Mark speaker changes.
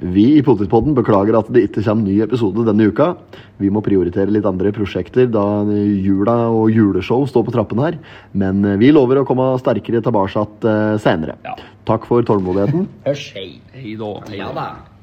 Speaker 1: Vi i Potetpodden beklager at det ikke kommer ny episode denne uka. Vi må prioritere litt andre prosjekter da jula og juleshow står på trappene her. Men vi lover å komme sterkere tilbake eh, senere.
Speaker 2: Ja.
Speaker 1: Takk for tålmodigheten.
Speaker 3: Hørs, hei.
Speaker 2: Hei da. Hei
Speaker 3: Ja
Speaker 2: da.
Speaker 3: da.